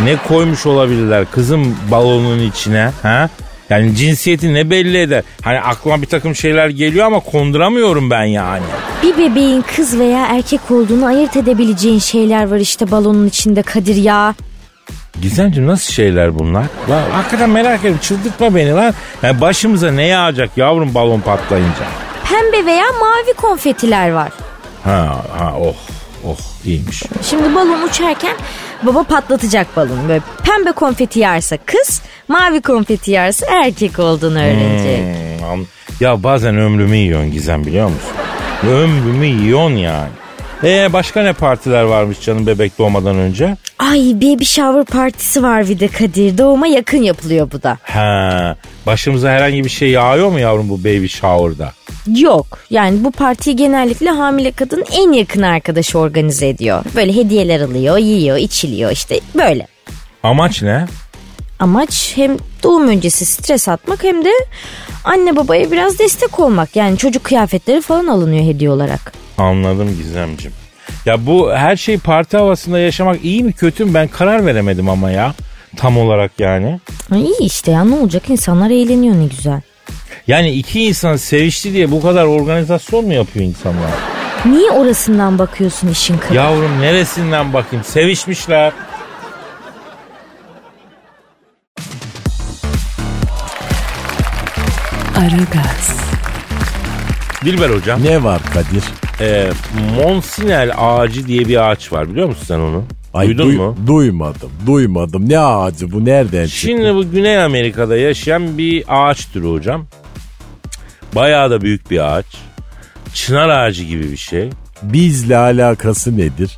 Ne koymuş olabilirler kızım balonun içine ha? Yani cinsiyeti ne belli eder? Hani aklıma bir takım şeyler geliyor ama konduramıyorum ben yani.
Bir bebeğin kız veya erkek olduğunu ayırt edebileceğin şeyler var işte balonun içinde Kadir ya.
Gizemciğim nasıl şeyler bunlar? Lan hakikaten merak ediyorum çıldırtma beni lan. Yani başımıza ne yağacak yavrum balon patlayınca?
Pembe veya mavi konfetiler var.
Ha ha oh oh iyiymiş.
Şimdi balon uçarken baba patlatacak balonu. Böyle pembe konfeti yerse kız, mavi konfeti yerse erkek olduğunu öğrenecek.
Hmm, am- ya bazen ömrümü yiyorsun Gizem biliyor musun? ömrümü yiyorsun yani. Ee başka ne partiler varmış canım bebek doğmadan önce?
Ay baby shower partisi var bir de Kadir. Doğuma yakın yapılıyor bu da.
He, başımıza herhangi bir şey yağıyor mu yavrum bu baby shower'da?
Yok. Yani bu partiyi genellikle hamile kadın en yakın arkadaşı organize ediyor. Böyle hediyeler alıyor, yiyor, içiliyor işte böyle.
Amaç ne?
Amaç hem doğum öncesi stres atmak hem de anne babaya biraz destek olmak. Yani çocuk kıyafetleri falan alınıyor hediye olarak.
Anladım Gizemcim. Ya bu her şey parti havasında yaşamak iyi mi kötü mü ben karar veremedim ama ya. Tam olarak yani.
Ay iyi işte ya ne olacak insanlar eğleniyor ne güzel.
Yani iki insan sevişti diye bu kadar organizasyon mu yapıyor insanlar?
Niye orasından bakıyorsun işin kadar?
Yavrum neresinden bakayım sevişmişler.
Aragaz,
Dilber hocam.
Ne var Kadir?
E, Monsinel ağacı diye bir ağaç var biliyor musun sen onu?
Ay,
Duydun
duy-
mu?
Duymadım. Duymadım. Ne ağacı bu? Nereden çıktı?
Şimdi bu Güney Amerika'da yaşayan bir ağaç türü hocam. Bayağı da büyük bir ağaç. Çınar ağacı gibi bir şey.
Bizle alakası nedir?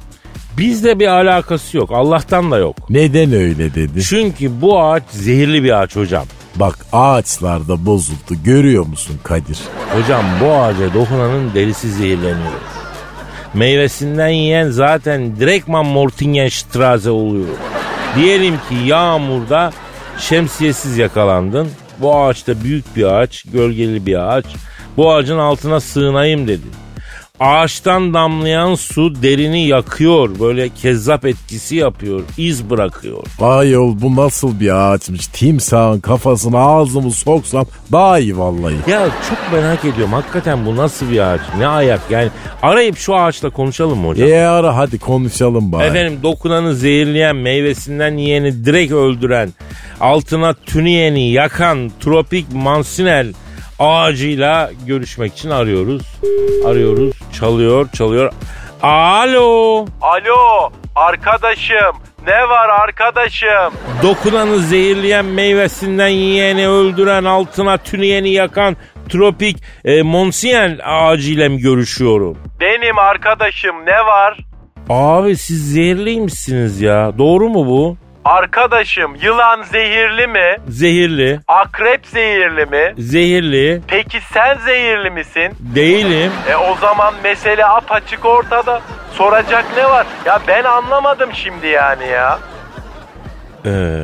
Bizle bir alakası yok. Allah'tan da yok.
Neden öyle dedi?
Çünkü bu ağaç zehirli bir ağaç hocam.
Bak ağaçlarda bozuldu. Görüyor musun Kadir?
Hocam bu ağaca dokunanın derisi zehirleniyor. Meyvesinden yiyen zaten direktman Mortingenstrasse oluyor. Diyelim ki yağmurda şemsiyesiz yakalandın. Bu ağaçta büyük bir ağaç, gölgeli bir ağaç. Bu ağacın altına sığınayım dedin. Ağaçtan damlayan su derini yakıyor. Böyle kezzap etkisi yapıyor. iz bırakıyor.
Ayol bu nasıl bir ağaçmış? Timsahın kafasına ağzımı soksam daha iyi vallahi.
Ya çok merak ediyorum. Hakikaten bu nasıl bir ağaç? Ne ayak? Yani arayıp şu ağaçla konuşalım mı hocam?
E ara hadi konuşalım bari.
Efendim dokunanı zehirleyen, meyvesinden yiyeni direkt öldüren, altına tüniyeni yakan tropik mansinel ağacıyla görüşmek için arıyoruz. Arıyoruz, çalıyor, çalıyor. Alo.
Alo Arkadaşım ne var arkadaşım?
Dokunanı zehirleyen, meyvesinden yiyeni öldüren, altına tüneyeni yakan tropik e, monsiyen ağacıyla mı görüşüyorum?
Benim arkadaşım ne var?
Abi siz zehirliymişsiniz ya. Doğru mu bu?
Arkadaşım yılan zehirli mi?
Zehirli.
Akrep zehirli mi?
Zehirli.
Peki sen zehirli misin?
Değilim.
E o zaman mesele apaçık ortada. Soracak ne var? Ya ben anlamadım şimdi yani ya.
Ee,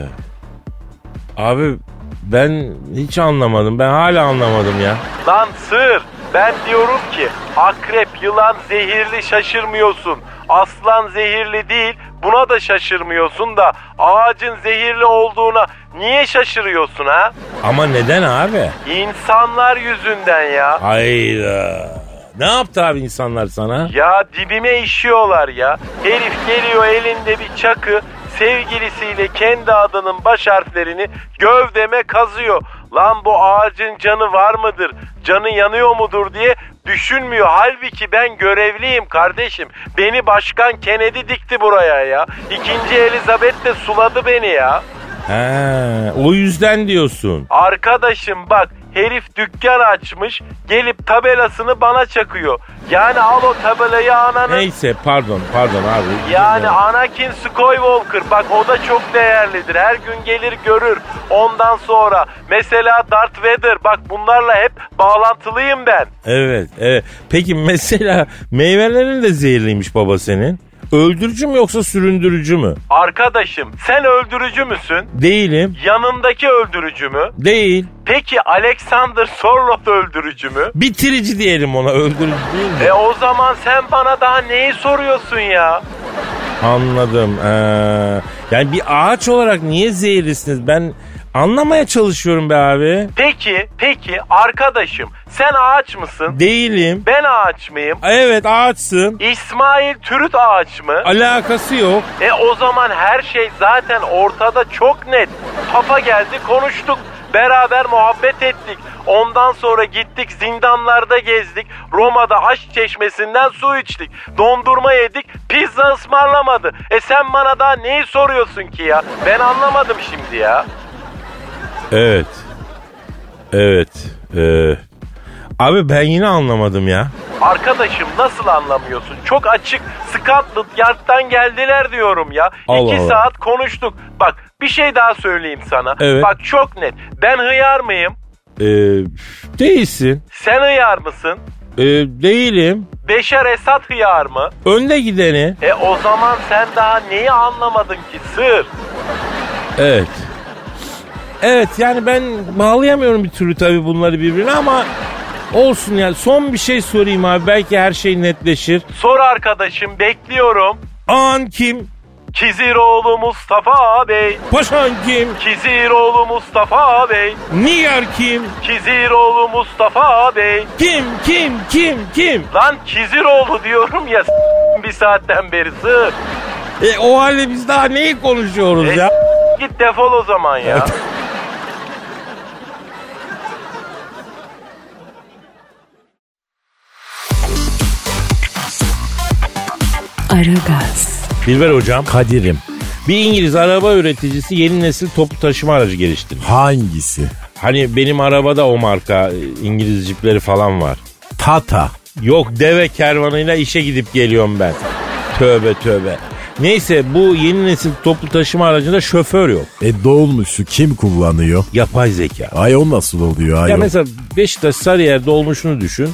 abi ben hiç anlamadım. Ben hala anlamadım ya.
Lan sır. Ben diyorum ki akrep, yılan zehirli şaşırmıyorsun. Aslan zehirli değil buna da şaşırmıyorsun da ağacın zehirli olduğuna niye şaşırıyorsun ha?
Ama neden abi?
İnsanlar yüzünden ya.
Hayda. Ne yaptı abi insanlar sana?
Ya dibime işiyorlar ya. Herif geliyor elinde bir çakı sevgilisiyle kendi adının baş harflerini gövdeme kazıyor. Lan bu ağacın canı var mıdır? Canı yanıyor mudur diye düşünmüyor. Halbuki ben görevliyim kardeşim. Beni başkan Kennedy dikti buraya ya. İkinci Elizabeth de suladı beni ya.
He, o yüzden diyorsun.
Arkadaşım bak herif dükkan açmış gelip tabelasını bana çakıyor. Yani al o tabelayı ananın
Neyse pardon pardon abi.
Yani Anakin Skywalker bak o da çok değerlidir. Her gün gelir görür. Ondan sonra mesela Darth Vader bak bunlarla hep bağlantılıyım ben.
Evet, evet. Peki mesela meyvelerin de zehirliymiş baba senin. Öldürücü mü yoksa süründürücü mü?
Arkadaşım sen öldürücü müsün?
Değilim.
Yanındaki öldürücü mü?
Değil.
Peki Alexander Sorloth öldürücü mü?
Bitirici diyelim ona öldürücü değil mi?
E o zaman sen bana daha neyi soruyorsun ya?
Anladım. Ee, yani bir ağaç olarak niye zehirlisiniz? Ben anlamaya çalışıyorum be abi.
Peki, peki arkadaşım sen ağaç mısın?
Değilim.
Ben ağaç mıyım?
Evet ağaçsın.
İsmail Türüt ağaç mı?
Alakası yok.
E o zaman her şey zaten ortada çok net. Papa geldi konuştuk. Beraber muhabbet ettik. Ondan sonra gittik zindanlarda gezdik. Roma'da aşk çeşmesinden su içtik. Dondurma yedik. Pizza ısmarlamadı. E sen bana daha neyi soruyorsun ki ya? Ben anlamadım şimdi ya.
Evet. Evet. Ee, abi ben yine anlamadım ya.
Arkadaşım nasıl anlamıyorsun? Çok açık. Scotland Yard'dan geldiler diyorum ya.
Allah
İki
Allah.
saat konuştuk. Bak bir şey daha söyleyeyim sana.
Evet.
Bak çok net. Ben hıyar mıyım?
Ee, değilsin.
Sen hıyar mısın?
Ee, değilim.
Beşer Esat hıyar mı?
Önde gideni.
E o zaman sen daha neyi anlamadın ki sır?
Evet. Evet yani ben bağlayamıyorum bir türlü tabii bunları birbirine ama olsun yani. Son bir şey sorayım abi belki her şey netleşir.
Sor arkadaşım bekliyorum.
An kim?
Kiziroğlu Mustafa Bey,
Paşan kim?
Kiziroğlu Mustafa Bey,
Niyer kim?
Kiziroğlu Mustafa Bey.
Kim? Kim? Kim? Kim?
Lan Kiziroğlu diyorum ya s- bir saatten beri sır.
E, o halde biz daha neyi
E,
konuşuyoruz ya?
s- git defol o zaman ya.
Aragaz,
Bilber hocam.
Kadir'im
Bir İngiliz araba üreticisi yeni nesil toplu taşıma aracı geliştirdi.
hangisi?
Hani benim arabada o marka e, İngiliz cipleri falan var.
Tata.
Yok deve kervanıyla işe gidip geliyorum ben. Tövbe tövbe. Neyse bu yeni nesil toplu taşıma aracında şoför yok.
E dolmuşu kim kullanıyor?
Yapay zeka.
Ay o nasıl oluyor
Ya
ayol?
mesela Beşiktaş Sarıyer dolmuşunu düşün.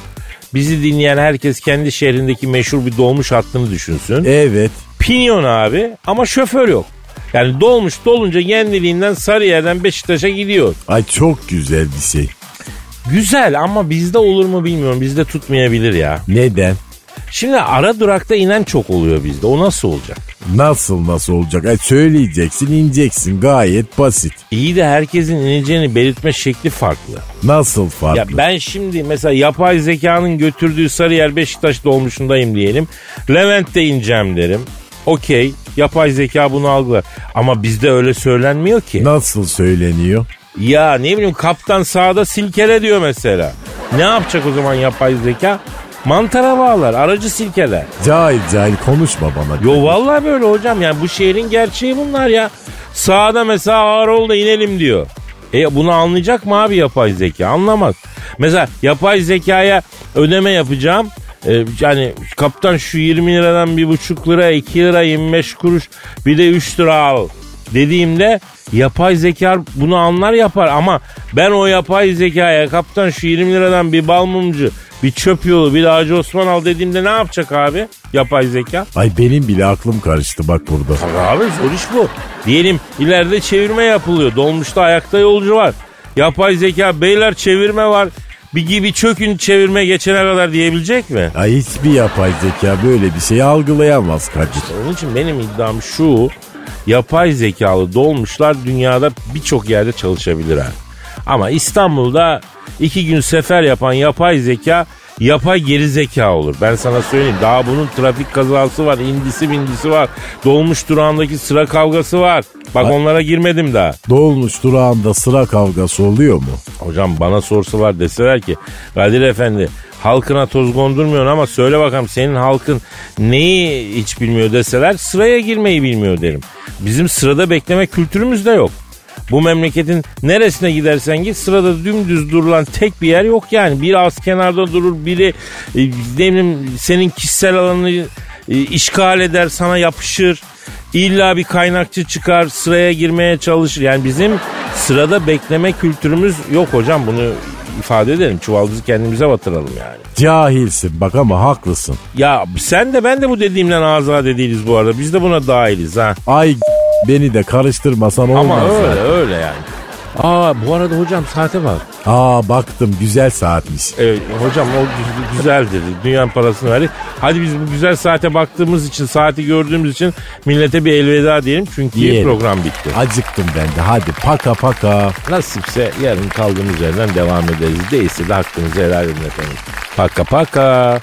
Bizi dinleyen herkes kendi şehrindeki meşhur bir dolmuş hattını
E,
düşünsün.
Evet.
Pinyon abi ama şoför yok. Yani dolmuş dolunca kendiliğinden Sarıyer'den Beşiktaş'a gidiyor.
Ay çok güzel bir şey.
Güzel ama bizde olur mu bilmiyorum. Bizde tutmayabilir ya.
Neden?
Şimdi ara durakta inen çok oluyor bizde. O nasıl olacak?
Nasıl nasıl olacak? Ay söyleyeceksin ineceksin gayet basit.
İyi de herkesin ineceğini belirtme şekli farklı.
Nasıl farklı?
Ya ben şimdi mesela yapay zekanın götürdüğü Sarıyer Beşiktaş dolmuşundayım diyelim. Levent'te ineceğim derim. Okey. Yapay zeka bunu algılar. Ama bizde öyle söylenmiyor ki.
Nasıl söyleniyor?
Ya ne bileyim kaptan sağda silkele diyor mesela. Ne yapacak o zaman yapay zeka? Mantara bağlar, aracı silkeler.
Cahil cahil konuşma bana.
Yo vallahi böyle hocam yani bu şehrin gerçeği bunlar ya. Sağda mesela Ağrıoğlu'na inelim diyor. E bunu anlayacak mı abi yapay zeka? Anlamaz. Mesela yapay zekaya ödeme yapacağım. E, yani kaptan şu 20 liradan bir buçuk lira, 2 lira, 25 kuruş bir de 3 lira al dediğimde yapay zeka bunu anlar yapar ama ben o yapay zekaya kaptan şu 20 liradan bir bal mumcu, bir çöp yolu, bir de Hacı Osman al dediğimde ne yapacak abi yapay zeka?
Ay benim bile aklım karıştı bak burada.
Abi soru iş bu. Diyelim ileride çevirme yapılıyor. Dolmuşta ayakta yolcu var. Yapay zeka beyler çevirme var. Bir gibi çökün çevirme geçene kadar diyebilecek mi?
Ay hiçbir yapay zeka böyle bir şeyi algılayamaz Kadir.
Onun için benim iddiam şu. Yapay zekalı dolmuşlar dünyada birçok yerde çalışabilir abi. Ama İstanbul'da iki gün sefer yapan yapay zeka yapay geri zeka olur. Ben sana söyleyeyim daha bunun trafik kazası var, indisi bindisi var. Dolmuş durağındaki sıra kavgası var. Bak onlara girmedim daha.
Dolmuş durağında sıra kavgası oluyor mu?
Hocam bana sorsalar deseler ki Kadir Efendi halkına toz kondurmuyorsun ama söyle bakalım senin halkın neyi hiç bilmiyor deseler sıraya girmeyi bilmiyor derim. Bizim sırada bekleme kültürümüz de yok. Bu memleketin neresine gidersen git sırada dümdüz durulan tek bir yer yok yani. Biri az kenarda durur, biri e, ne bileyim senin kişisel alanını e, işgal eder, sana yapışır. İlla bir kaynakçı çıkar, sıraya girmeye çalışır. Yani bizim sırada bekleme kültürümüz yok hocam. Bunu ifade edelim. Çuvaldızı kendimize batıralım yani.
Cahilsin bak ama haklısın.
Ya sen de ben de bu dediğimden azade değiliz bu arada. Biz de buna dahiliz ha.
Ay beni de karıştırmasan olmaz.
Ama
ya.
öyle öyle yani. Aa bu arada hocam saate bak.
Aa baktım güzel saatmiş.
Evet hocam o gü- güzeldir. Dünyanın parasını verdik. Hadi biz bu güzel saate baktığımız için, saati gördüğümüz için millete bir elveda diyelim. Çünkü
Diyelim.
program bitti.
Acıktım ben de hadi paka paka.
Nasipse yarın kaldığımız yerden devam ederiz. Değilse de hakkınızı helal edin efendim. Paka paka.